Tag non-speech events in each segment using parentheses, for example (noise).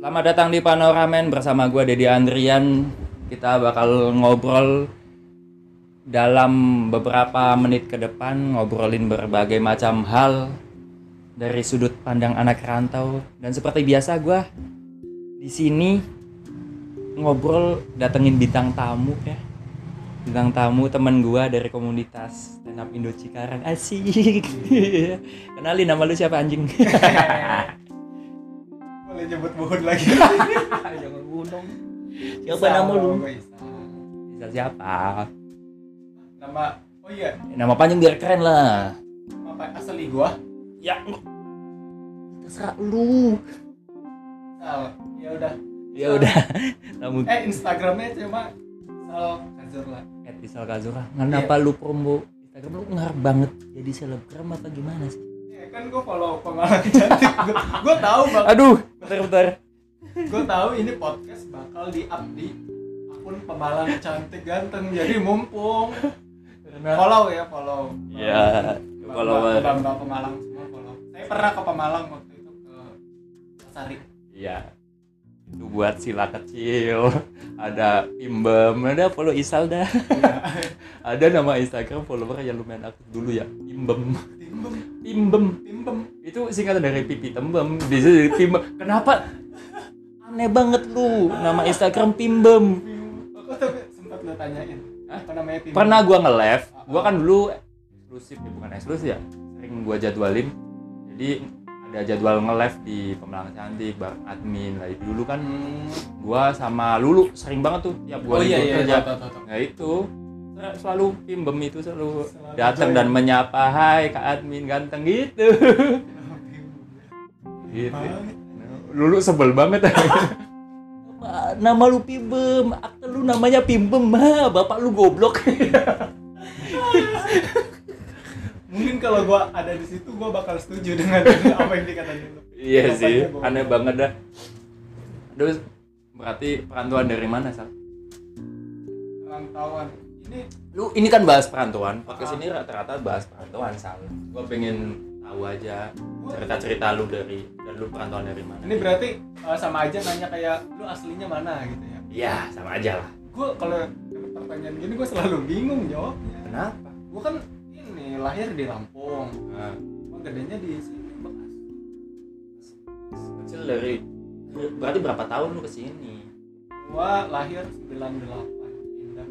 Selamat datang di Panoramen bersama gue Dedi Andrian. Kita bakal ngobrol dalam beberapa menit ke depan ngobrolin berbagai macam hal dari sudut pandang anak rantau dan seperti biasa gue di sini ngobrol datengin bintang tamu ya bintang tamu temen gue dari komunitas stand up Indo Cikarang asik (laughs) kenalin nama lu siapa anjing Boleh nyebut buhun lagi. jangan gunung Bisa, lu gua bisa. bisa siapa Nama Oh iya, nama panjang biar keren lah apa asli gua? ya terserah lu Sal. Ya udah. ya udah (laughs) tamu Eh Instagramnya cuma Sal Kazurla. at Isal Kazura kenapa lu promo Instagram lu ngar banget jadi selebgram apa gimana sih Ya kan gua follow pengalang cantik. Gua, gua tahu bang. aduh bentar bentar Gua tahu ini podcast bakal di up di akun pemalang cantik ganteng. Jadi mumpung follow ya follow. ya follower Bang Bang Pemalang semua follow. Saya pernah ke Pemalang waktu itu ke Sari. Iya. Itu buat sila kecil. Ada Imbem, ada follow Isal dah. ada nama Instagram follower yang lumayan aktif dulu ya, Imbem. Timbem, Imbem. timbem. Itu singkatan dari pipi tembem, bisa jadi Pimbem. Kenapa? Aneh banget lu, nama Instagram Pimbem. Aku tuh sempat lo tanyain. Hah? Apa namanya timbem? Pernah gua nge-live, gua kan dulu eksklusif, ya bukan eksklusif ya. Sering gua jadwalin. Jadi ada jadwal nge-live di Pemelang Cantik, bareng admin lah. Dulu kan gua sama Lulu sering banget tuh tiap gua oh iya libur iya kerja. tau, tau, tau. Nah itu Sel- selalu pimbem itu selalu Selalu datang join. dan menyapa hai kak admin ganteng (laughs) gitu. gitu. Lulu sebel banget. (laughs) Nama- nama lu pimbem, akte lu namanya pimbem, ha, bapak lu goblok. (laughs) mungkin kalau gua ada di situ gua bakal setuju dengan (laughs) apa yang dikatain lu iya Bapaknya sih, goblok. aneh banget dah. Terus berarti perantauan dari mana, Sal? rantauan ini Lu ini kan bahas perantauan, podcast Ah. ini rata-rata bahas perantauan, Sal. Gua pengen tahu aja gua- cerita-cerita lu dari dan lu perantauan dari mana. ini berarti uh, sama aja nanya kayak lu aslinya mana gitu ya Iya, sama aja lah. gua kalau dapet pertanyaan gini gua selalu bingung jawabnya Kenapa? Nah, gua kan ini lahir di Lampung gua gedenya di sini Bekasi kecil dari berarti berapa tahun lu kesini? gua lahir 98 pindah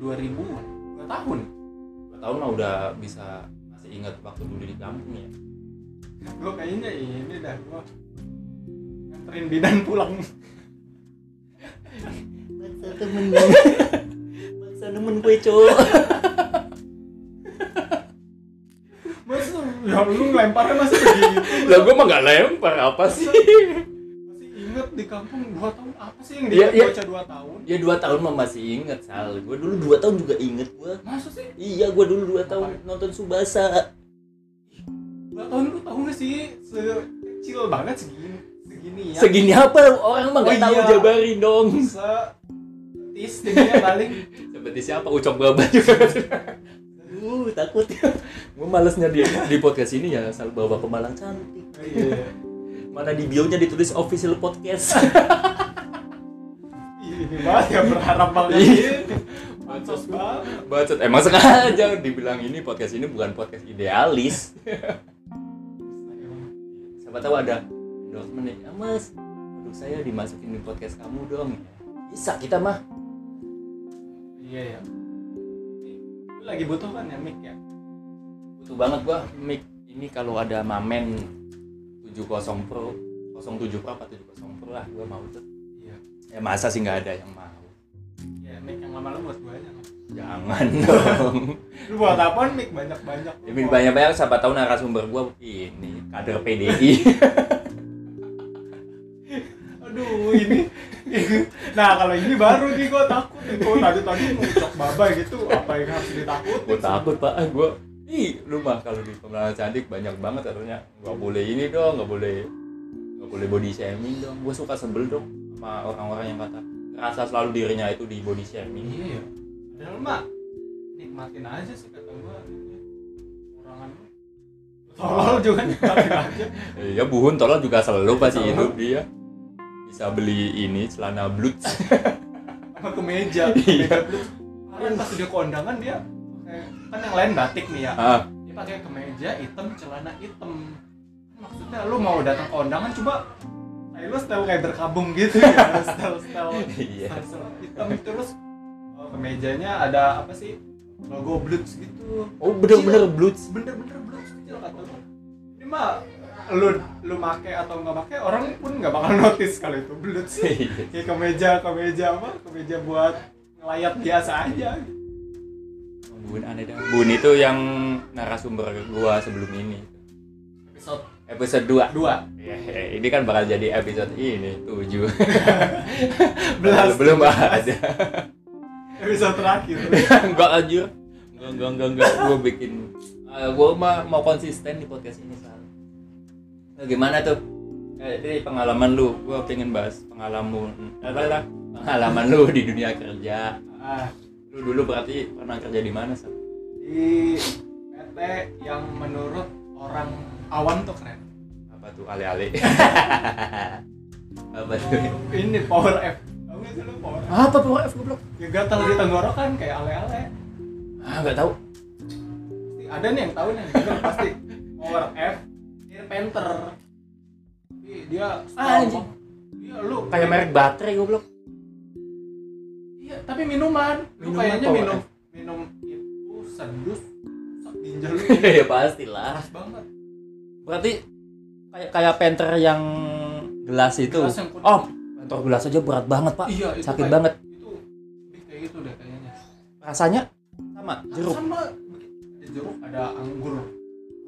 2000-an 2 tahun Berapa tahun lah udah bisa masih ingat waktu dulu di kampung ya? gue kayaknya ini dah gue nganterin bidan pulang Maksa temen Maksa temen gue cowok masa ya lu lemparnya masih begitu (laughs) Lah gue mah gak lempar apa sih? masih inget di kampung 2 tahun apa sih yang Iya, dia iya. bocah 2 tahun Ya dua tahun mah masih inget Sal Gue dulu dua tahun juga inget gue masa sih Iya gue dulu dua tahun nonton Subasa 2 tahun lu tau gak sih sekecil banget segini segini ya Segini apa orang mah gak Oh, tahu iya. jabarin dong se tis tingginya paling Seperti siapa Ucok Baba juga Uh takut Gue malesnya di, di podcast ini ya Sal bawa pemalang cantik iya Mana di bio-nya ditulis official podcast. (laughs) ini banget ya berharap banget Iya. ini Pansos banget Bacot. Emang sengaja dibilang ini podcast ini bukan podcast idealis. Siapa tahu ada endorsement nih. Ah, mas, produk saya dimasukin di podcast kamu dong. Bisa kita mah. iya ya lu lagi butuh kan ya mic ya Butuh banget gua mic ini kalau ada Mamen 70 Pro, 07 Pro apa 70 Pro lah gua mau tuh. iya Ya masa sih nggak ada yang mau. iya mic yang lama lu buat gue aja Jangan (laughs) dong. lu buat apaan mic banyak-banyak Ya, mic banyak-banyak siapa tahu narasumber gua ini kader (laughs) PDI. aduh ini (laughs) nah kalau ini baru nih gue takut nih gue tadi tadi ngucok baba gitu apa yang harus ditakutin gue takut pak Ah, gua ih lu mah kalau di pemeran cantik banyak banget katanya nggak boleh ini dong nggak boleh nggak boleh body shaming dong gue suka sebel dong sama orang-orang yang kata rasa selalu dirinya itu di body shaming iya ya padahal mah nikmatin aja sih kata gue kurangan tolol juga nikmatin aja Iya, Eh, ya buhun tolong juga selalu pasti hidup dia bisa beli ini celana (laughs) bluts sama kemeja Iya. kemeja blue kemarin pas dia kondangan dia pakai- kan yang lain batik nih ya ah, dia pakai kemeja hitam celana hitam maksudnya lu mau datang kondangan coba style lu style kayak berkabung gitu ya style style (laughs) Iya. style- style hitam terus eh, kemejanya ada apa sih logo blues gitu oh bener-bener bluts bener-bener blues kecil kata lu ini mah lu lu make atau nggak make orang pun nggak bakal notice kalau itu blues sih Iya. kayak kemeja kemeja apa kemeja buat ngelayat biasa aja Bun aneh dah Bun itu yang narasumber gua sebelum ini episode episode 2 dua Yeay, ini kan bakal jadi episode ini (laughs) 7 Belas. belum ada episode terakhir (laughs) enggak anjir enggak enggak enggak enggak gue bikin Ah, gua mah mau konsisten di podcast ini Sal Nah, gimana tuh Eh, ini pengalaman lu gua pengen bahas pengalaman adalah pengalaman lu di dunia kerja ah, lu dulu berarti pernah kerja di mana Sal di PT yang menurut orang awam tuh keren apa tuh ale-ale (laughs) apa tuh ini power F tau gak sih lu power F apa power F goblok ya gatel di tenggorokan kayak ale-ale ah nggak tahu Pasti ada nih yang tahu nih yang denger pasti power F Air Panther tapi dia Ah, strong. anjing. Iya, lu kayak merek baterai goblok iya tapi minuman lu Minuman kayaknya Power minum F. minum itu sedus rusak ginjal (laughs) lu (laughs) ya pastilah keras banget berarti kayak kayak penter yang gelas itu Gelas yang kuning. oh penter gelas aja berat banget pak iya itu sakit kayak- banget itu lebih kayak gitu deh kayaknya rasanya sama jeruk sama ada jeruk ada anggur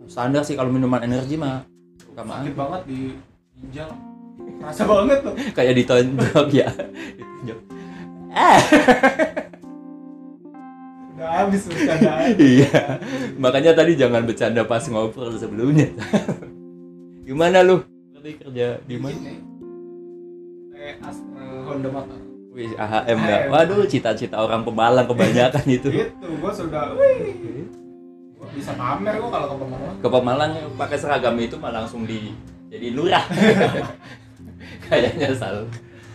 standar sih kalau minuman energi mah (laughs) sama sakit banget di ginjal rasa banget tuh kayak ditonjok ya ditonjok ah udah habis bercandaan (laughs) iya makanya tadi jangan bercanda pas ngobrol sebelumnya (laughs) gimana lu berarti kerja di mana Gini. kayak Astra Honda Motor Wih, AHM ya. Waduh, cita-cita orang pemalang kebanyakan itu. gitu gua sudah wih gua bisa pamer gua kalau ke Pemalang Ke Pemalang pakai seragam itu mah langsung di jadi lurah. (laughs) Kayaknya sal.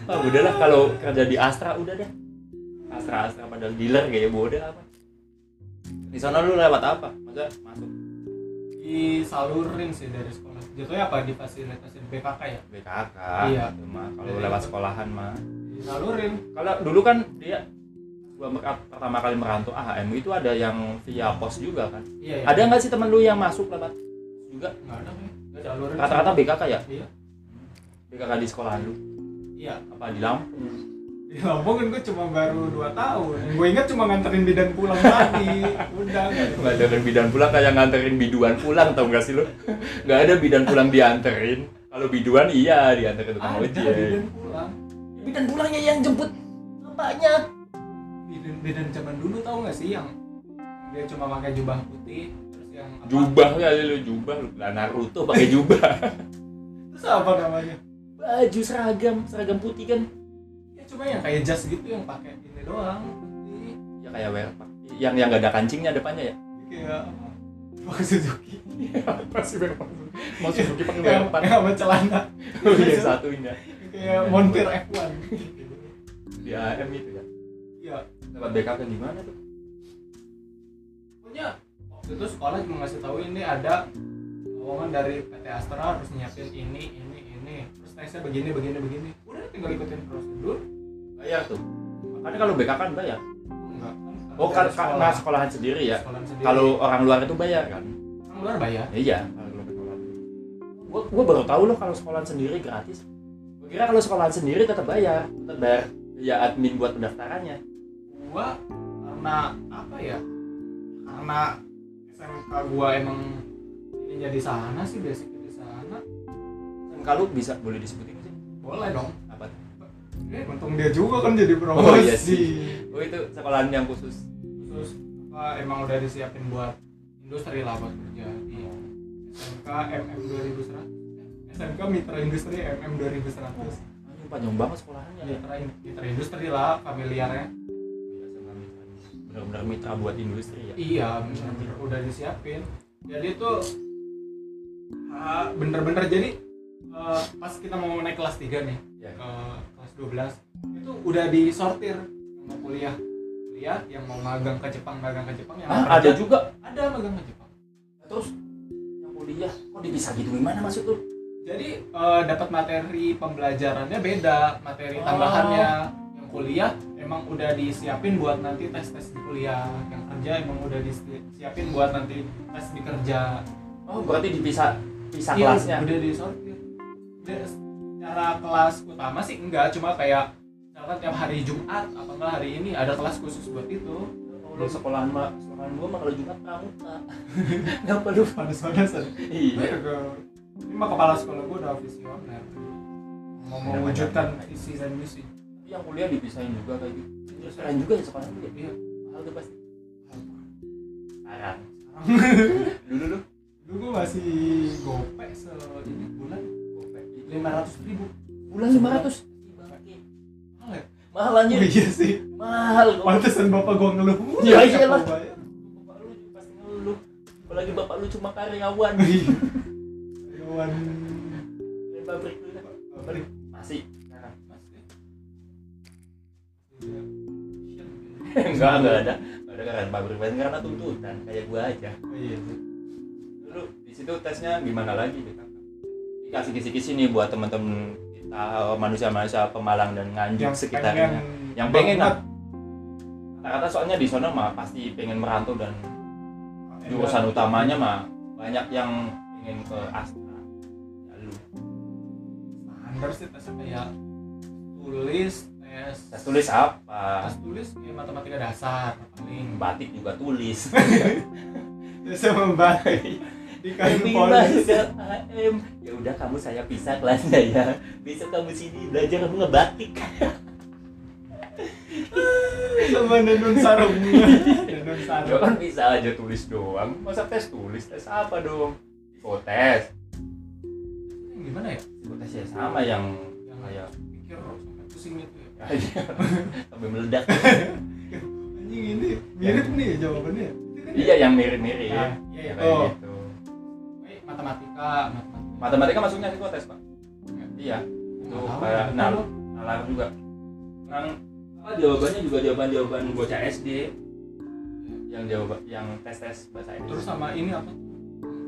Ah, udahlah kalau kerja di Astra udah deh. Astra Astra padahal dealer kayak bodoh apa. Di sana lu lewat apa? Masa masuk disalurin sih dari sekolah jatuhnya apa difasilitasin BKK ya BKK. Iya. gitu mah. Kalau lewat sekolahan mah. disalurin Kalau dulu kan dia gua mer- pertama kali merantau AHM itu ada yang via pos juga kan. iya ya Ada nggak sih temen lu yang masuk lewat juga? nggak ada nih disalurin Rata-rata BKK ya? iya BKK di sekolahan lu iya apa di Lampung? di Lampung kan gue cuma baru 2 tahun gue inget cuma nganterin bidan pulang tadi udah nggak ada. nganterin bidan pulang kayak nganterin biduan pulang tau gak sih lu nggak ada bidan pulang dianterin kalau biduan iya dianterin tukang ada ojek bidan pulang bidan pulangnya yang jemput bapaknya bidan bidan zaman dulu tau nggak sih yang dia cuma pakai jubah putih terus yang apa jubah kali lu jubah lu lah Naruto pakai jubah terus apa namanya (laughs) baju seragam seragam putih kan ya cuma yang kayak jas gitu yang pakai ini doang putih ya kayak werpak yang yang nggak ada kancingnya (laughs) depannya ya kayak apa pakai Suzuki apa sih werpak Iya. mau Suzuki pakai yang werpak yang sama celana yang satunya kayak montir F1 di AM itu ya iya dapat BKK gimana kan tuh punya waktu itu sekolah cuma ngasih tahu ini ada lowongan dari PT Astra harus nyiapin ini ini ini terus tesnya begini begini begini udah tinggal ikutin prosedur bayar tuh makanya kalau BKK kan bayar enggak kan oh kan kan karena sekolahan sendiri ya sekolah sendiri kalau orang luar itu bayar kan orang luar bayar iya kalau gelombang sekolah gua, gua baru tahu loh kalau sekolahan sendiri gratis gua kira kalau sekolahan sendiri tetap bayar tetap bayar ya admin buat pendaftarannya gua karena apa ya karena SMK gua emang ininya di sana sih basicnya di sana kan kalau bisa boleh disebutin nggak sih boleh dong apa tuh? eh, untung dia juga kan jadi promosi Oh, iya sih. oh itu sekolahan yang khusus terus apa emang udah disiapin buat industri lah buat kerja di SMK MM 2100 SMK Mitra Industri MM 2100 Anjing, Ah, panjang banget sekolahannya ya Mitra, in- Mitra Industri lah familiarnya benar-benar mitra buat industri ya iya bener-bener udah disiapin Ya, jadi itu ah, bener-bener jadi eh, pas kita mau naik kelas 3 nih Ya. ke kelas 12 itu udah disortir yang mau kuliah kuliah yang mau magang ke Jepang magang ke Jepang yang mau Hah, Ah, ada kerja, juga. ada magang ke Jepang Terus yang kuliah kok dipisah gitu gimana maksud tuh? jadi eh, dapat materi pembelajarannya beda materi Oh. tambahannya yang kuliah emang udah disiapin buat nanti tes tes di kuliah yang kerja emang udah disiapin buat nanti tes di kerja Oh, berarti dipisah pisah Iya, kelasnya. udah disortir Dan secara kelas utama sih enggak cuma kayak misalkan tiap hari Jumat apa enggak hari ini ada kelas khusus buat itu Kalau Ya sekolahan mah sekolahan gua mah kalau Jumat (laughs) pramuka. Enggak perlu. panas-panasan Iya. ini mah kepala sekolah gue udah visi online mau mewujudkan visi dan misi Tapi yang kuliah dipisahin juga kayak gitu. Terus keren juga ya sekolahan gua. Iya. Mahal tuh pasti. Sekarang. Dulu lu dulu gue masih gope se ini bulan gope lima ratus ribu bulan 500. mahal ya Mahal Oh anjir. iya sih Mahal kok. pantesan bapak gue ngeluh mulu Iya, siapa iyalah. mau bayar? Bapak lu pasti ngeluh. Apalagi bapak lu cuma karyawan. Iya. Hewan Dari pabrik lu kan. dah. balik Masih. Sekarang. Enggak, Iya. enggak, enggak ada. Enggak ada karyawan pabrik lain karena tuntutan kayak gua aja. iya Dulu di situ tesnya gimana lagi kita? Dikasih kisi-kisi nih buat teman-teman kita manusia-manusia Pemalang dan Nganjuk sekitarnya. Yang pengen Nah, banget Kata-kata soalnya di sana mah pasti pengen merantau dan jurusan utamanya mah banyak yang pengen ke Astra. Ya lu standar sih tesnya kayak tulis tes tes tulis apa? tes tulis kayak matematika dasar (laughs) paling Batik juga (laughs) tulis. tesnya membaik gitu, di kain polis Bimbingan AM. Ya udah kamu saya pisah kelasnya ya. Besok kamu sini belajar kamu ngebatik. sama nenun (laughs) sarungnya nenun Ya sarung kan bisa aja tulis doang. Masa tes tulis, tes apa dong? Psikotes. Yang gimana ya Psikotes ya sama yang yang kayak pikir sampai pusing gitu ya Iya. (laughs) sampai meledak. anjing ini mirip nih jawabannya itu kan iya, yang mirip-mirip. Nah, iya, Ya, itu. kayak gitu. Eh, matematika matematika Matematika masuknya psikotes, Pak. Iya, itu Nggak tahu, kayak nggak nah, tahu. nalar juga. Nah, apa jawabannya juga jawaban-jawaban bocah SD yang jawaban yang tes-tes bahasa Inggris. terus sama ini apa tuh?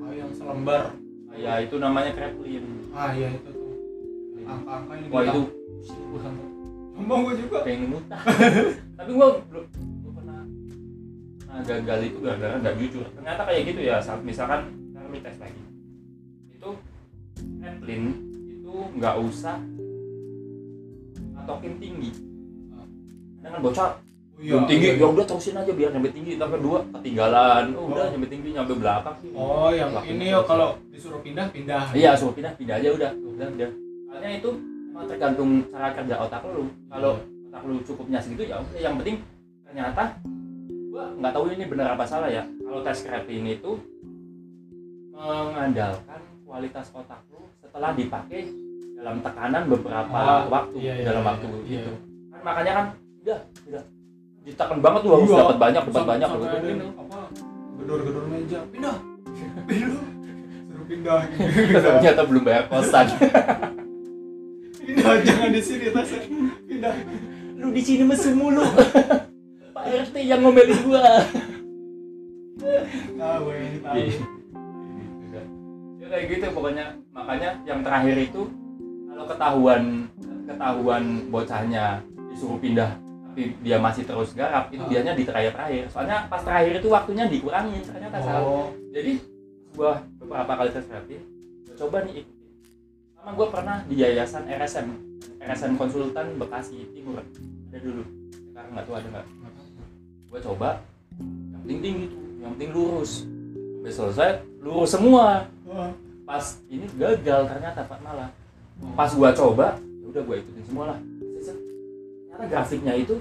oh, yang selembar Ya itu namanya kreplin. ah iya itu tuh angka-angka ini Wah itu bukan ngomong gue juga pengen muntah (laughs) tapi gua belum gua pernah pernah gagal itu gara-gara nggak jujur ternyata kayak gitu ya saat misalkan kami tes lagi itu Redlin itu nggak usah patokin tinggi dengan bocah oh, belum tinggi ya udah terusin aja biar nyampe tinggi tapi kedua ketinggalan oh, udah nyampe tinggi nyampe belakang oh yang Lakuin ini terus. ya kalau disuruh pindah pindah iya suruh pindah pindah aja udah udah udah soalnya itu emang tergantung cara kerja otak lu kalau otak lu cukupnya segitu ya udah. yang penting ternyata gua nggak tahu ini benar apa salah ya kalau tes kreatin itu mengandalkan kualitas otak lu setelah dipakai dalam tekanan beberapa Ah, waktu iya, iya, dalam iya, waktu iya. itu kan makanya kan udah udah ditekan banget tuh harus Iya. dapat banyak dapat Sampai- banyak (laughs) sampai gitu. ada yang apa gedor-gedor meja (laughs) pindah pindah suruh pindah gitu. ternyata belum bayar kosan pindah jangan di sini tasnya pindah lu di sini mesum mulu (laughs) Pak RT yang ngomelin gua tahu ini tahu Iya. ya kayak gitu pokoknya makanya yang terakhir itu kalau ketahuan ketahuan bocahnya disuruh pindah tapi dia masih terus garap itu Ah. biasanya di terakhir-terakhir soalnya pas terakhir itu waktunya dikurangin ternyata salah oh jadi gua beberapa kali tes rapid gua coba nih ikutin sama gua pernah di yayasan RSM RSM konsultan Bekasi Timur ada dulu sekarang nggak tahu ada nggak gue coba yang penting tinggi tuh yang penting lurus sampai selesai lurus semua Wah. pas ini gagal ternyata pak malah pas gua coba ya udah gua ikutin semua lah Set, set. ternyata grafiknya itu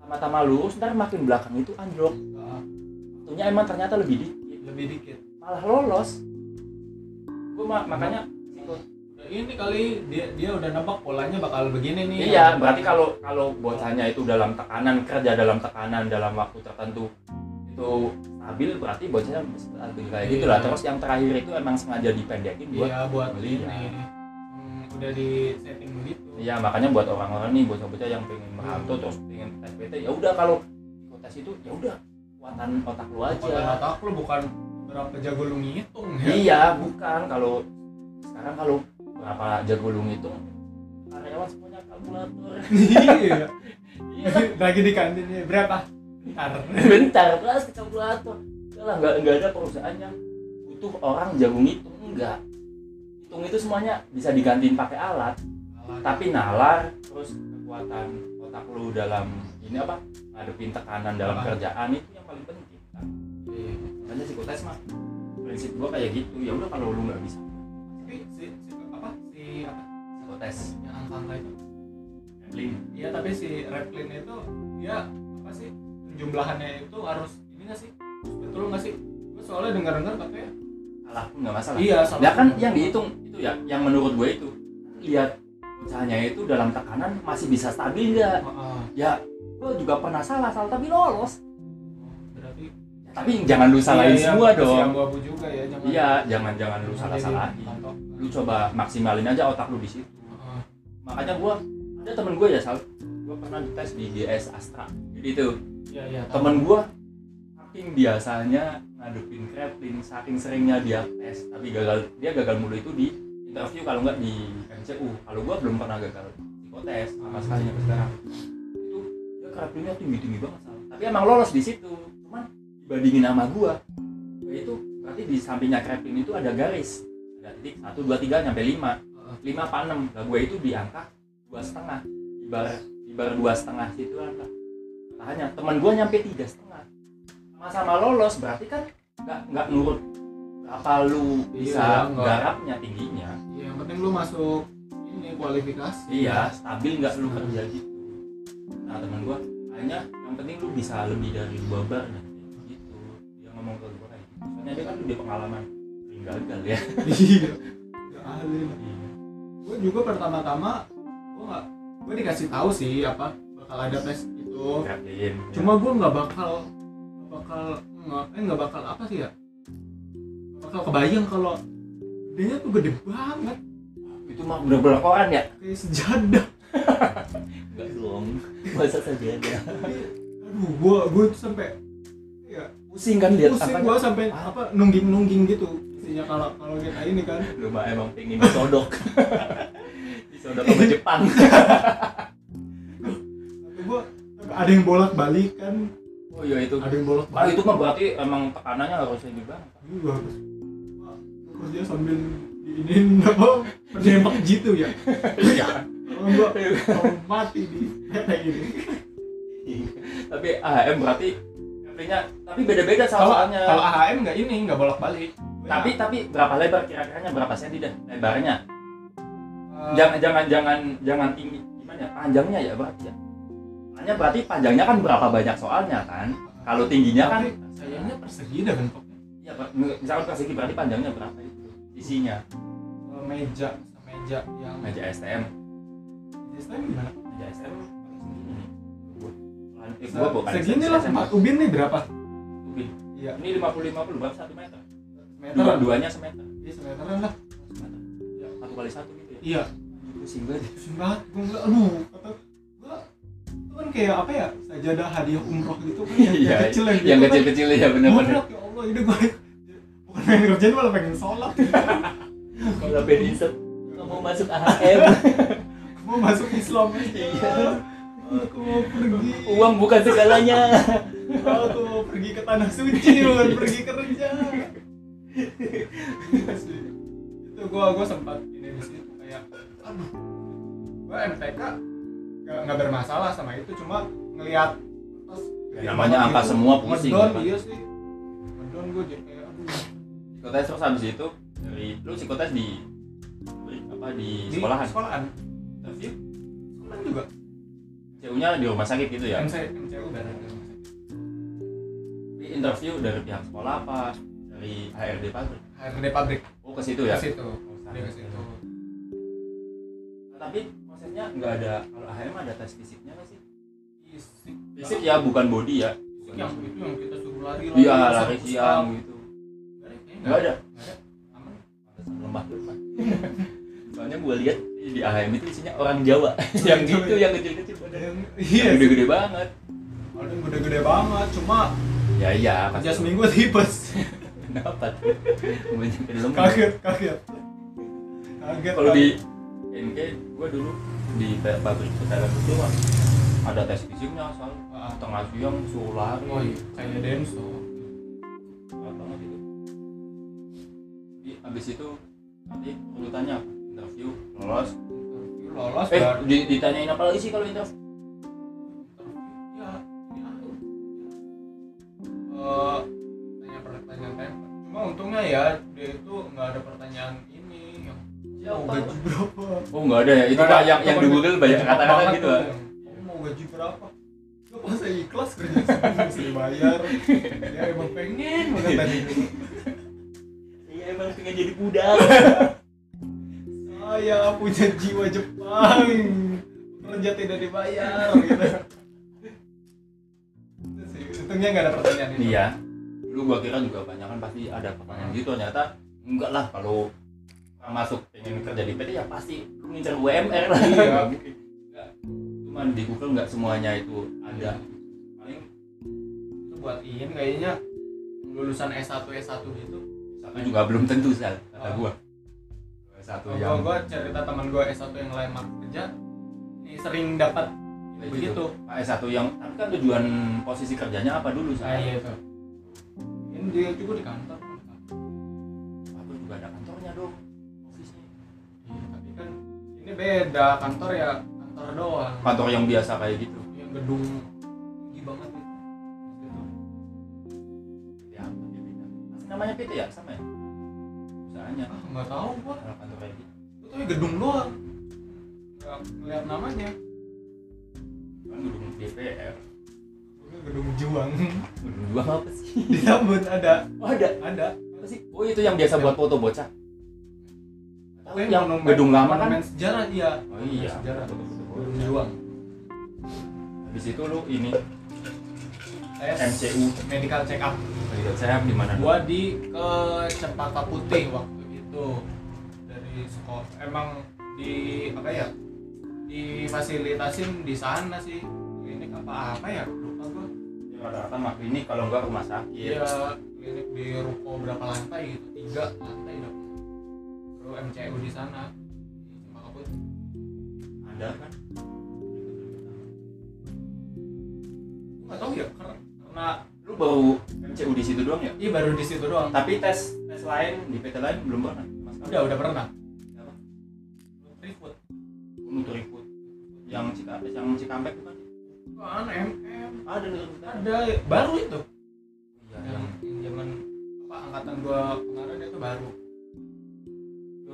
sama-sama lurus ntar makin belakang itu anjlok Ah, waktunya emang ternyata lebih dikit lebih dikit malah lolos gua ma- makanya Nah, ini kali dia dia udah nebak polanya bakal begini nih Iya, berarti kalau kalau bocahnya itu dalam tekanan kerja dalam tekanan dalam waktu tertentu itu stabil berarti bocahnya stabil kayak gitu lah. Iya. Terus yang terakhir itu emang sengaja dipendekin buat iya buat beli, ini ya. Hmm, udah udah di setting begitu Iya makanya buat orang-orang nih bocah-bocah yang pengen merantau terus pengen tes PT ya udah kalau ikut tes itu ya udah kekuatan otak lu aja. Bukan otak lu bukan berapa jago lu ngitung ya Iya bukan kalau sekarang kalau berapa jago lu ngitung karyawan semuanya kalkulator. iya Iya kan? (laughs) lagi di kantin ya, berapa ntar bentar terus ke kalkulator. Udah lah nggak nggak ada perusahaan yang butuh orang jago ngitung enggak. Hitung itu semuanya bisa digantiin pakai alat. tapi nalar terus kekuatan otak lu dalam ini apa ngadepin tekanan dalam Apa? kerjaan itu yang paling penting kan makanya psikotes mah prinsip gua kayak gitu ya udah kalau lu nggak bisa tapi si, si apa si apa psikotes yang angka-angka itu link iya tapi si Replin itu dia apa sih penjumlahannya itu harus ini nggak sih Harus betul nggak sih gue soalnya dengar dengar katanya salah pun nggak masalah iya salah Lah kan yang dihitung itu ya yang menurut gue itu lihat bocahnya itu dalam tekanan masih bisa stabil nggak Heeh. ya gue juga pernah salah salah tapi lolos berarti Ya, tapi jangan lu salahin Iya, iya, semua kasihan dong gua Bu juga ya jangan iya jangan jangan lu Jadi, salah salahin kantor. Ah, lu coba maksimalin aja otak lu di situ Heeh. makanya gua ada temen gua ya sal gua pernah dites di GS Astra jadi itu iya iya tahu. temen gua saking biasanya ngadepin kreplin saking seringnya dia tes tapi gagal dia gagal mulu itu di interview kalau nggak di MCU kalau gua belum pernah gagal psikotes sama sekali sampai sekarang itu dia kreplinnya tinggi tinggi banget sal tapi emang lolos di situ cuman dibandingin sama gua gua itu berarti di sampingnya kreplin itu ada garis ada titik satu dua tiga sampai lima 5 Heeh. apa 6 lah gue itu di angka dua setengah di bar di bar dua setengah situ angka Nah, hanya teman gue nyampe tiga setengah sama-sama lolos berarti kan nggak nggak nurut apa lu Iya, bisa nggak. garapnya tingginya Iya, yang penting lu masuk ini kualifikasi iya stabil nggak lu kerja gitu nah teman gue hanya yang penting lu bisa lebih dari dua bar nanti gitu dia ngomong ke gue kayak gitu soalnya dia kan udah pengalaman sering gagal ya (laughs) iya Udah ahli lah. gue juga pertama-tama gue nggak gue dikasih tahu sih apa bakal ada tes itu Kerjain, ya. cuma gue nggak bakal nggak bakal nggak eh nggak bakal apa sih ya Nggak bakal kebayang kalau gedenya tuh gede banget itu mah bener-bener koran ya kayak sejadah Enggak dong, masa saja ada aduh gue gue tuh sampai ya Pusing kan lihat pusing apa gue sampai apa nungging nungging gitu isinya kalau kalau kita ini kan Lu mah emang pengen (laughs) disodok Disodok sama Jepang gue ada yang bolak balik kan (laughs) Oh iya itu ada yang bolak Ah balik itu mah berarti emang tekanannya harus lebih banget Ini bagus. Wah, Kerja sambil diinin (laughs) apa penembak gitu ya. Iya Kalau enggak kalau mati di kayak gini. Tapi AHM berarti Artinya, tapi beda-beda Kalau kalau soalnya AHM enggak ini enggak bolak-balik. tapi tapi berapa lebar kira-kiranya berapa senti dah lebarnya Eh, jangan jangan jangan jangan tinggi gimana ya? panjangnya ya berarti ya hanya berarti panjangnya kan berapa banyak soalnya kan kalau tingginya kan tapi sayangnya persegi dah bentuknya. Iya, Pak. misalkan persegi berarti panjangnya berapa itu? Isinya Kalau eh, meja meja yang meja STM, meja stand gimana? meja STM paling segini nih. Gua. Lan- eh, gua bukan Se- Segini STM, lah SMA. Pak Ubin nih berapa? Lebih. Iya. Ini 50 50 berapa 1 meter? Dua Meteran. duanya semeter. Iya, semeteran lah. Semeter. Iya. Satu kali satu gitu ya. Iya, Pusing banget. pusing banget. Gue enggak aduh, kata gua itu kan kayak apa ya? Sajadah hadiah umroh gitu kan yang, yang Iya. kecil yang gitu Yang kan. kecil-kecil ya benar-benar. Bodoh, ya Allah, ini gue bukan pengen ngerjain malah pengen sholat. Kalau pengen insert kamu masuk (laughs) AHM. Mau masuk Islam Iya. Aku mau pergi. Uang bukan segalanya. Aku mau pergi ke tanah suci, bukan pergi kerja. Iya sih. Itu gua gua sempat ini di situ kayak aduh. Gua MTK nggak nggak bermasalah sama itu, cuma ngelihat terus Ya, namanya angka semua pusing, Ngedon, kan? iya sih. Ngedon gua jadi kayak aduh. Psikotes terus habis itu dari lu psikotes di apa di Di sekolahan. Sekolahan. Interview Sekolahan juga. CU-nya di rumah sakit gitu ya. MC MCU bareng. Di interview dari pihak sekolah apa dari HRD pabrik HRD pabrik oh ke situ ke ya situ. Oh, Dia ke situ. Nah, tapi prosesnya nggak ada kalau AHM ada tes fisiknya nggak sih Fisik. fisik ya bukan body ya Fisik yang itu gitu yang kita suruh lari iya pusat- lari pusat. siang Iya. gitu Lari kayaknya nggak nggak ada ada. Aman. Pantesan lemah lemah (laughs) soalnya gue lihat di di AHM itu isinya orang Jawa (laughs) yang gitu yang kecil-kecil padahal. Yang- Yang iya sih. gede-gede banget Ada yang gede-gede banget, cuma ya iya kerja pasti. seminggu tipes. (laughs) (laughs) kenapa tuh kebanyakan lembut. Kaget, kaget. Kaget. kalau kan. di NK gue dulu di pabrik putaran itu mah ada tes fisiknya soal Ah, tengah siang suruh lari oh iya, kayak dance Mahal banget itu jadi abis itu nanti urutannya apa? interview lolos Interview lolos eh baru di- ditanyain apa lagi sih kalau interview interview. Ya, ini aku. Eh, tanya pertanyaan tembak. Cuma untungnya ya dia itu nggak ada pertanyaan ini yang mau Siapa? gaji berapa. oh nggak ada ya itu Nggak pak ada, yang yang di cuma Google banyak cuma kata-kata banget gitu Iya, tuh Pak. yang, "Kamu mau gaji berapa? Lu pas saya ikhlas kerja sendiri mesti dibayar. Ya emang pengen banget tadi dulu. iya emang pengen jadi budak Saya punya jiwa Jepang. Kerja tidak dibayar gitu. Itu sih, Untungnya nggak ada pertanyaan itu. (laughs) iya dulu gua kira juga banyak kan pasti ada pertanyaan gitu ternyata enggak lah kalau orang masuk pengen kerja di PT ya pasti lu ngincer UMR lah Iya. Enggak. cuman di Google nggak semuanya itu ada paling Itu buat Iin kayaknya lulusan S1 S1 gitu. satu juga belum tentu sal kata Oh. gua satu Kalau yang gua, gua cerita teman gua S1 yang lamar kerja, ini sering dapat Kayak begitu. Pak, eh, satu yang tapi kan tujuan posisi kerjanya apa dulu Nah, saya iya itu. Ini dia juga di kantor. aku juga ada kantornya dong ofisnya Iya, tapi kan ini beda kantor ya kantor doang. kantor yang biasa kayak gitu Yang gedung tinggi banget itu. Gitu. ya apa dia beda Masih namanya PT ya sama ya usahanya Ah, nggak tahu gua. Kalau kantor kayak gitu Gua tuh gedung doang. Nggak ngeliat namanya. kan gedung DPR Gua gedung juang. (laughs) gedung dua apa sih di Tambun ada, oh ada ada. apa sih oh itu yang biasa buat foto bocah Oh, iya, yang monumen- gedung lama kan monumen sejarah dia. oh iya Sejarah. Foto-foto Gedung bocah. juang. habis itu lu ini Tes MCU medical check up. Lihat saya di mana gua di ke Cempaka Putih waktu itu dari sekolah emang di apa ya difasilitasin di sana sih klinik apa apa ya lupa gua Ya, rata-rata mah klinik kalau enggak rumah sakit iya klinik di ruko berapa lantai gitu tiga lantai dong baru MCU di sana di Cempaka Putih ada kan gua nggak tahu ya karena, karena lu baru MCU di situ doang ya iya baru di situ doang tapi tes tes lain di PT lain belum pernah mas udah udah pernah Apa? Freefood nutriput yang Cikampek yang Cikampek bukan kan MM ada nutriput ada ada baru itu iya yang yang yang zaman apa angkatan gua kemarin itu baru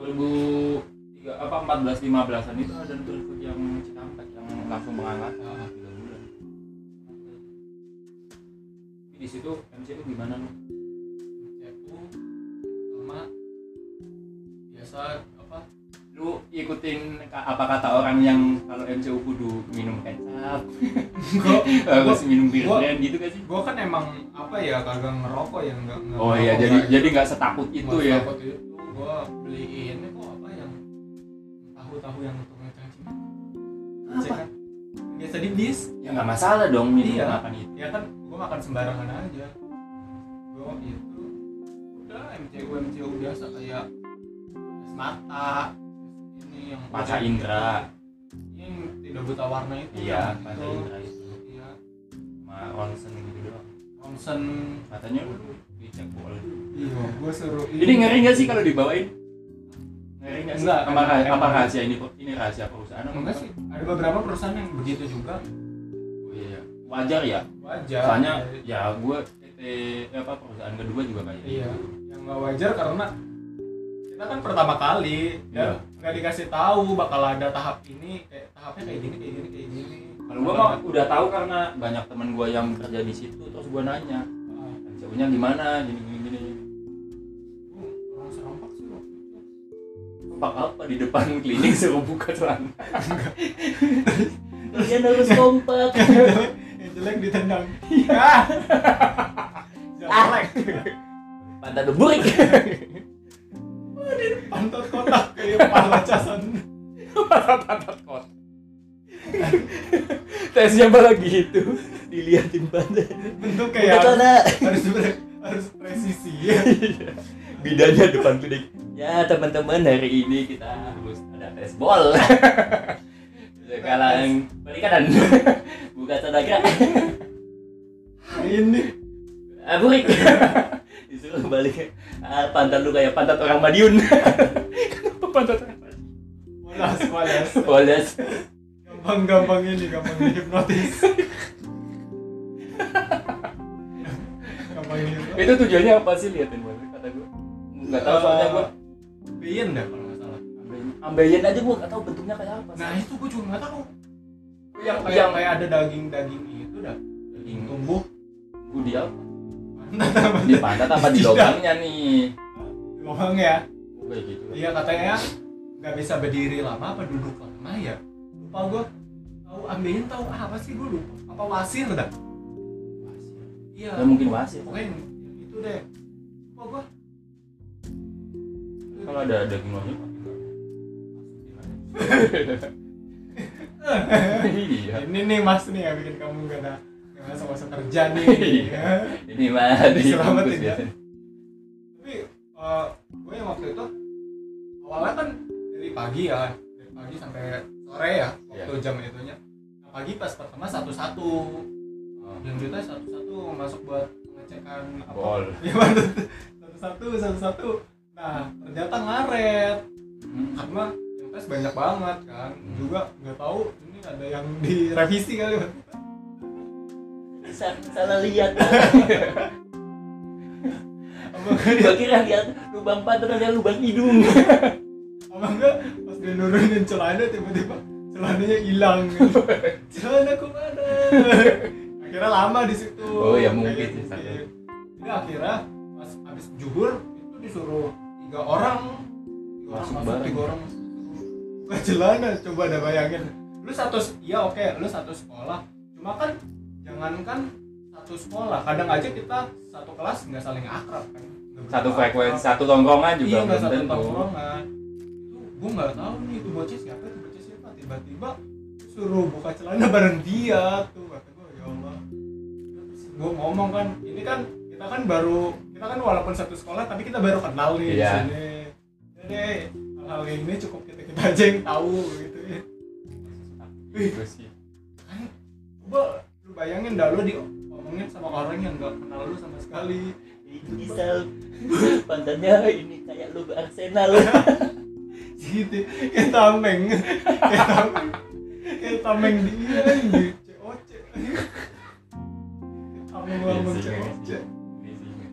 2003 apa 14 15-an itu ada nutriput yang Cikampek yang langsung mengangkat Ah. tiga bulan Tapi di situ MCU gimana lu? aku sama biasa apa lu ikutin ka- apa kata orang yang kalau MCU kudu minum kecap gua, harus minum bir gua- brand gitu gak sih gua kan emang apa ya kagak ngerokok ya nggak nggak oh iya ngerokok, jadi nggak- jadi nggak setakut itu nggak ya takut itu gua beliin kok apa yang tahu-tahu yang untuk ngecangcing apa kan? biasa di bis ya nggak masalah dong minum Iya. makan itu ya kan gua makan sembarangan aja gua itu udah MCU MCU biasa kayak es mata ini yang Mata Indra yang tidak buta warna itu iya yang Mata itu. Indra itu iya sama Ronsen gitu doang Thompson katanya lu dicek bol iya gua suruh jadi ngeri nggak sih kalau dibawain ngeri nggak sih Enggak, apa, emang- apa emang. rahasia ini ini rahasia perusahaan apa enggak sih ada beberapa perusahaan yang begitu juga oh, iya. wajar ya wajar soalnya ya gue PT eh, apa perusahaan kedua juga kayak iya yang nggak wajar karena kita kan pertama kali Iya. dan nggak dikasih tahu bakal ada tahap ini kayak tahapnya kayak gini kayak gini kayak gini kalau gue mah udah tahu karena banyak teman gue yang kerja di situ terus gue nanya Ah, MCU nya gimana gini gini gini gua orang serampak sih waktu itu Pak apa di depan klinik suruh buka celana kalian harus kompak yang jelek ditendang ah jelek pantat burik pantat kotak kayak pala casan masa pantat kotor tesnya malah gitu diliatin badannya bentuk Udah, kayak Tona. harus ber- harus presisi ya bidanya depan bidik ya teman-teman hari ini kita harus ada tes bol sekarang balik kanan buka tenaga ini ah, burik disuruh balik ah, pantat lu kayak pantat orang Madiun kenapa pantat orang Madiun polas polas Boles. gampang gampang ini gampang dihipnotis gampang dihipnotis itu tujuannya apa sih liatin bola kata gue nggak tahu soalnya gue pian dah kalau nggak salah ambeien aja gue nggak tahu bentuknya kayak apa sih. nah itu gue juga nggak tahu yang yang kayak kayak ada daging daging itu dah daging tumbuh gue di apa mantap di pantat apa di (laughs) Tidak. lubangnya nih ngomong ya Gua kayak gitu Iya katanya nggak bisa berdiri lama apa duduk lama ya. Lupa gue tahu ambilin tahu apa sih gue lupa. Apa wasir dah? Iya. ya mungkin wasit Pokoknya yang itu deh. Lupa gue. kalau ada daging monyet iya Ini nih mas nih yang bikin kamu gak ada nggak ada masa kerja nih. Iya. ini mah di Diselamatin bungkus ya. biasanya. Tapi gue yang waktu itu awalnya kan dari pagi ya, dari pagi sampai sore ya waktu Iya. jam itunya. Nah, pagi pas pertama satu-satu, yang kita satu-satu masuk buat pengecekan apa Bol. (laughs) Iya, bener. satu-satu satu-satu nah ternyata ngaret Hmm. karena yang tes banyak banget kan juga nggak tahu ini ada yang direvisi kali Bang. Sa- salah lihat apa gue kira lihat lubang pantat ada lubang (laughs) hidung apa enggak pas dia nurunin celana tiba-tiba celananya (laughs) hilang gitu. celana kemana akhirnya lama di situ Oh, ya mungkin Kayak sih, satu. gitu. jadi akhirnya pas abis juhur itu disuruh tiga orang tiga orang Masuk masuk (laughs) bareng. tiga orang buka celana coba ada bayangin lu satu ya oke lu satu sekolah cuma kan jangankan satu sekolah kadang aja kita satu kelas nggak saling akrab kan satu Nggak berapa akrab frekuensi satu tongkrongan juga iya nggak belum satu tentu. tongkrongan itu gue nggak tahu nih itu bocah siapa itu bocah siapa tiba-tiba suruh buka celana bareng dia tuh kata gue ya allah terus gue ngomong kan ini kan kita kan baru kita kan walaupun satu sekolah tapi kita baru kenal Iya. nih di sini jadi hal-hal kayak gini cukup kita kita aja yang tahu gitu ya Itu sih. kan coba lu bayangin dah lu diomongin sama orang yang nggak kenal lu sama sekali ini sal pantatnya ini kayak lu Arsenal gitu kayak tameng kayak tameng kayak tameng dia anjir. COC apa ngomong Iya sih, iya sih. COC Ini sih,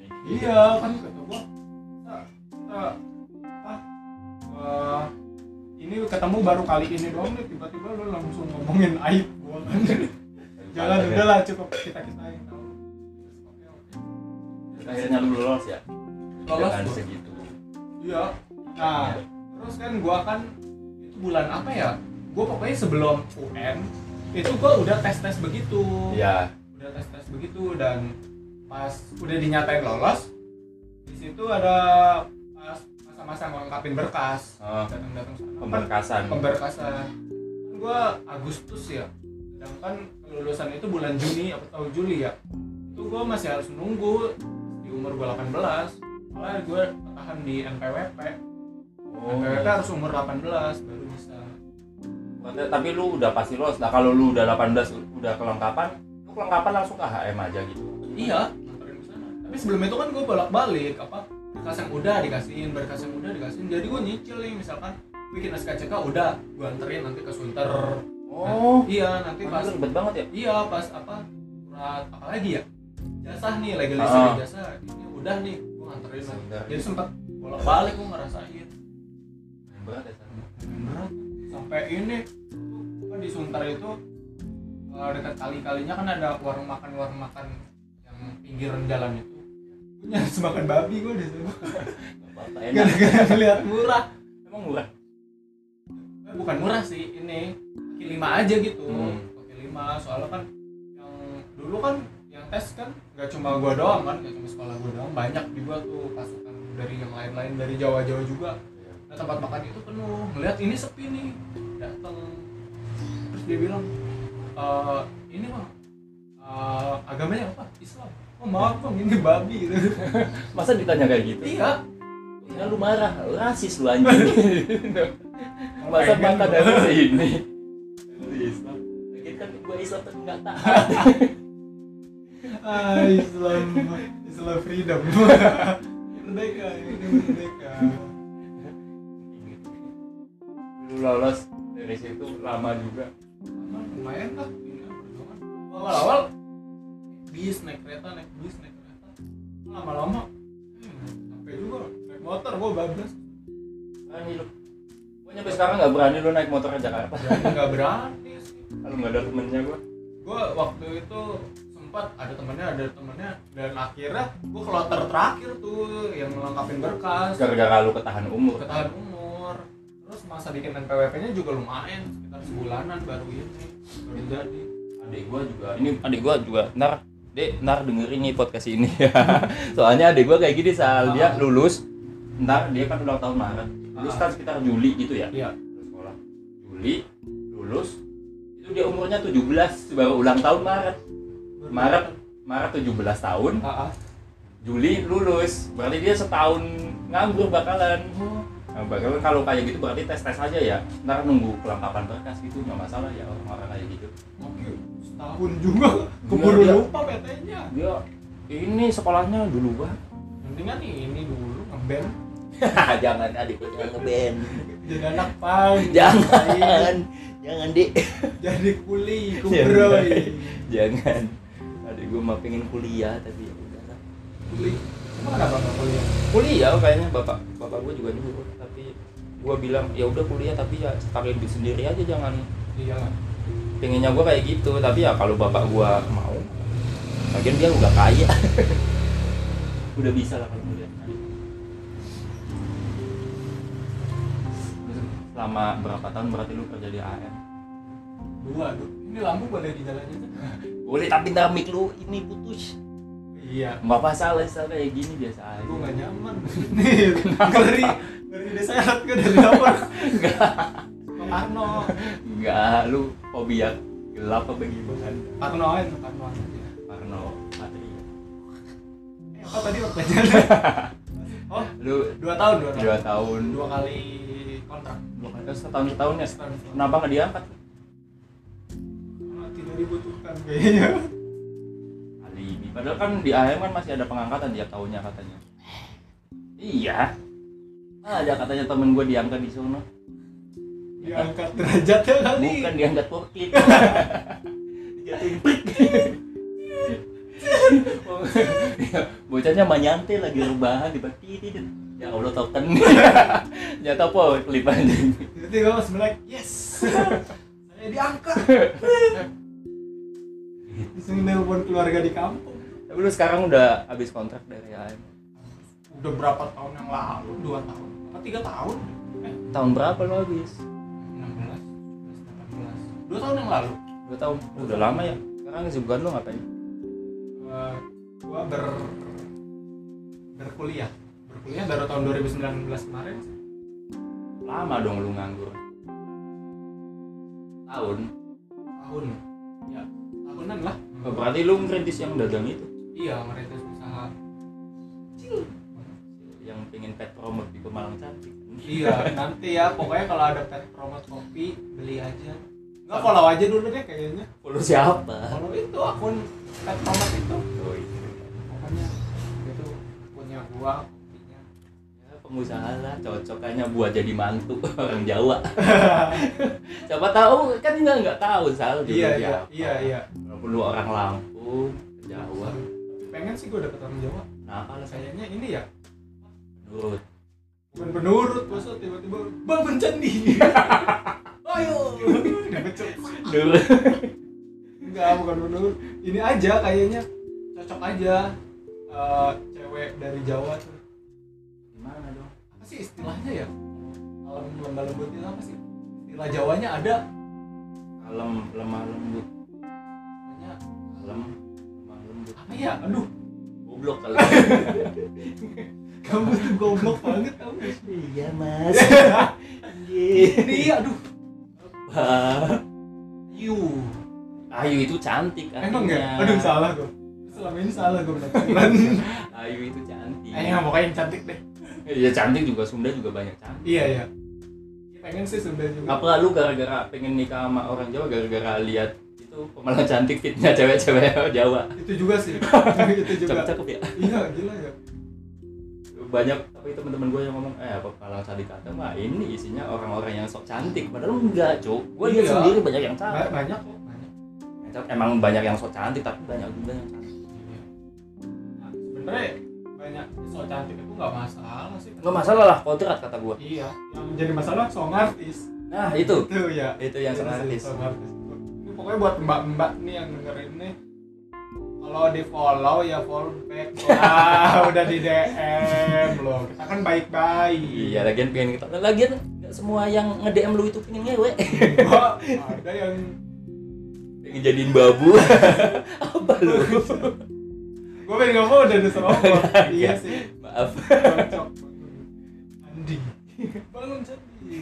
ini. iya kan kata gua kita kita apa eh, ini ketemu baru kali ini doang nih tiba-tiba lu langsung ngomongin aib gua (laughs) kan jangan Pantatnya. udahlah cukup kita kita yang tahu Terus, oke, oke. akhirnya lu lolos ya Lolos Dengan gua. segitu iya nah terus kan gua kan itu bulan apa ya gua pokoknya sebelum UN itu gua udah tes tes begitu iya udah tes tes begitu dan pas udah dinyatain lolos di situ ada pas masa-masa ngelengkapin berkas Oh. datang datang pemberkasan pemberkasan Kan gua Agustus ya sedangkan kelulusan itu bulan Juni apa tahu Juli ya itu gua masih harus nunggu di umur gua 18 malah gua tahan di NPWP Oh. NPWP harus umur 18 baru bisa Maksudnya, tapi lu udah pasti lolos nah kalau lu udah 18 udah kelengkapan lu kelengkapan langsung ke HM aja gitu Iya, nganterin ke sana. Tapi sebelum itu kan gue bolak-balik apa berkas yang udah dikasihin, berkas yang udah dikasihin. Jadi gue nyicil nih misalkan bikin SKCK udah gue anterin nanti ke Sunter. oh Iya, nanti itu pas ribet banget ya iya pas apa surat apa lagi ya? Jasa nih legalisir Ah. jasa. Ini udah nih gue nganterin. lah. Sebentar. Jadi sempet bolak-balik gue ngerasain Berat ya, San. berat sampai ini tuh, kan di Sunter itu eh, dekat kali-kalinya kan ada warung makan warung makan yang pinggiran jalan itu punya semakan babi gue di situ Nggak apa-apa, enak gara-gara ngeliat murah emang murah Eh, bukan murah sih ini kaki lima aja gitu Hmm. kaki lima soalnya kan yang dulu kan yang tes kan nggak cuma gua doang kan nggak cuma sekolah gua doang banyak juga tuh pasukan dari yang lain-lain dari Jawa-Jawa juga Nah tempat makan itu penuh. Melihat ini sepi nih. datang terus dia bilang "Eh, ini bang eh, agamanya apa Islam oh maaf bang ini babi (laughs) gitu masa ditanya kayak gitu iya ya lu marah rasis lu (laughs) anjing masa Pengen makan gua. dari sini Dari Islam Lagian kan gua Islam tapi nggak taat ah Islam Islam freedom (laughs) merdeka ini merdeka lu lolos dari situ lama juga Aman, lumayan lah ini apa, perjuangan. awal-awal bis naik kereta naik bis naik kereta lama-lama hmm, sampai juga loh. naik motor gua bablas berani lu gua nyampe sekarang nggak berani lu naik motor ke Jakarta jadi nggak berani sih kalau nggak ada temennya gua gue waktu itu sempat ada temennya ada temennya dan akhirnya gue kloter terakhir tuh yang melengkapin berkas gara-gara lu ketahan umur ketahan umur terus masa bikin NPWP nya juga lumayan sekitar sebulanan baru ini baru jadi adik gua juga ini ini adik gua juga ntar dek ntar dengerin nih podcast (laughs) ini soalnya adik gua kayak gini saat Ah. dia lulus ntar dia kan ulang tahun Maret lulus kan sekitar Juli gitu ya iya Lulus sekolah Juli lulus itu dia umurnya 17 baru ulang tahun Maret Maret Maret 17 tahun ah, ah. Juli lulus berarti dia setahun nganggur bakalan Oh, nah, bakalan kalau kayak gitu berarti tes tes aja ya ntar nunggu kelengkapan berkas gitu nggak masalah ya orang-orang kayak gitu oke setahun juga keburu Iya, ya? iya. lupa PT-nya dia ini sekolahnya dulu (laughs) bah mendingan nih ini dulu ngeband jangan adik gua jangan (laughs) ngeband jadi anak pang jangan jangan dek jadi kuli (laughs) kubroi jangan adik gua mau pengen kuliah tapi ya udah lah. kuli emang ada berapa kuliah kuliah kayaknya bapak bapak gue juga nyuruh tapi gue bilang ya udah kuliah tapi ya pakai duit sendiri aja jangan iya lah pengennya gue kayak gitu tapi ya kalau bapak gue mau lagian dia udah kaya (laughs) udah bisa lah ya. kalau kuliah selama berapa tahun berarti lu kerja di AM dua tuh ini lampu boleh dijalannya boleh tapi ntar mic lu ini putus iya nggak masalah salah kayak gini biasa aja gue gak nyaman nih ngeri ngeri diseret gue dari dapur enggak Karno nggak lu hobi yang gelap apa gimana Karnoan Karnoan aja Parno Patria eh apa tadi waktu jalan oh lu dua tahun dua tahun dua tahun dua kali kontrak dua kali setahun setahun ya Setahun, setahun. kenapa nggak diangkat Karena tidak dibutuhkan kan, kayaknya alibi padahal kan di AM kan masih ada pengangkatan tiap tahunnya katanya iya ada katanya temen gue diangkat di sono diangkat derajatnya kali bukan diangkat pokit dijatuhin (laughs) bocahnya manyantai lagi rebahan di titit ya Allah tau kan (laughs) nyata apa kelipan jadi gue mas melek yes saya diangkat disuruh nelpon keluarga di kampung tapi lu sekarang udah habis kontrak dari AM udah berapa tahun yang lalu dua tahun apa tiga tahun eh tahun berapa lu habis 16 18 dua tahun yang lalu dua tahun udah lama ya sekarang kesibukan lu ngapain eh, gua ber berkuliah berkuliah baru tahun 2019 kemarin lama dong lu nganggur tahun tahun ya Hmm. tahunan lah Oh, berarti lu ngerintis yang dagang itu iya merintis usaha kecil yang pengen pet promote di Pemalang cantik iya nanti ya pokoknya kalau ada pet promote kopi beli aja nggak follow aja dulu deh kayaknya follow siapa follow itu akun pet promote itu oh, itu. pokoknya itu punya gua kopinya ya, pengusaha lah cocokannya buat jadi mantu (laughs) orang (laughs) Jawa siapa tahu kan nggak nggak tahu sal dulu iya iya siapa. iya iya walaupun lu orang Lampung Jawa pengen sih gua dapet orang Jawa kenapa lah saya kayaknya ini ya nurut bukan penurut masa tiba-tiba bang Oh, bencandi (laughs) ayo dibecek nurut enggak bukan penurut ini aja kayaknya cocok aja eh, cewek dari Jawa tuh gimana dong apa sih istilahnya ya alam lembah lembut itu apa sih istilah Jawanya ada kalem lemah lembut namanya kalem lemah lembut apa ya aduh goblok kalau kamu tuh goblok banget kamu iya mas ini aduh Ayu. Ayu itu cantik artinya. Emang enggak? Aduh salah gua. Selama ini salah gua benar. (laughs) Ayu itu cantik. Kayaknya nggak mau kayak yang cantik deh. Iya cantik juga Sunda juga banyak cantik. Iya ya. Pengen sih sebenarnya juga. Apa lu gara-gara pengen nikah sama orang Jawa gara-gara lihat itu pemalah cantik fitnya cewek-cewek (laughs) Jawa. Itu juga sih. (laughs) itu juga. Cakep-cakep ya. Iya gila ya. Banyak tapi teman-teman gue yang ngomong eh apa kalau tadi kata mah ini isinya orang-orang yang sok cantik padahal enggak, Cuk. Gue lihat Iya. sendiri banyak yang Ba- cantik. Banyak kok. Banyak. Yang cakep, Emang banyak yang sok cantik tapi banyak juga yang cantik. Iya. Nah, sebenarnya banyak soal cantik itu nggak masalah sih. Enggak masalah lah kodrat kata gue. Iya. Yang menjadi masalah soal artis. Nah, itu. Itu ya. Itu yang Iya, sangat artis. sih, sama artis. Ini pokoknya buat mbak-mbak nih yang dengerin nih kalau di follow ya follow (laughs) back lah udah di DM loh kita kan baik-baik Iya, lagian pengen kita. Lagian nggak semua yang nge-DM lu itu pengen ngewe. Mbak, ada yang Pengen jadiin babu. (laughs) apa lu? gue pengen ngomong udah diserobot (laughs) iya sih Maaf, cocok Andi bangun Andi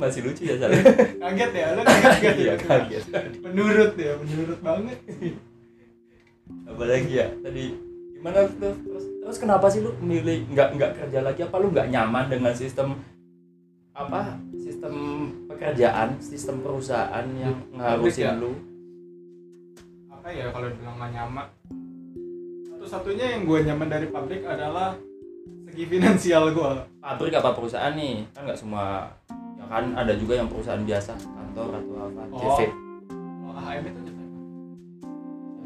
masih lucu ya soalnya. kaget ya lo (laughs) kaget ya Iya, kaget. menurut ya menurut banget Apalagi ya tadi gimana tuh? Terus, terus kenapa sih lu milih nggak nggak kerja lagi? Apa lu nggak nyaman dengan sistem apa sistem pekerjaan, sistem perusahaan yang Pabrik ya? ngarusin lu? apa ya kalau bilang nggak nyaman satu-satunya yang gue nyaman dari pabrik adalah segi finansial gue Pabrik apa perusahaan nih? Kan nggak semua ya kan ada juga yang perusahaan biasa kantor atau apa Oh. CV kalau AHM itu nyata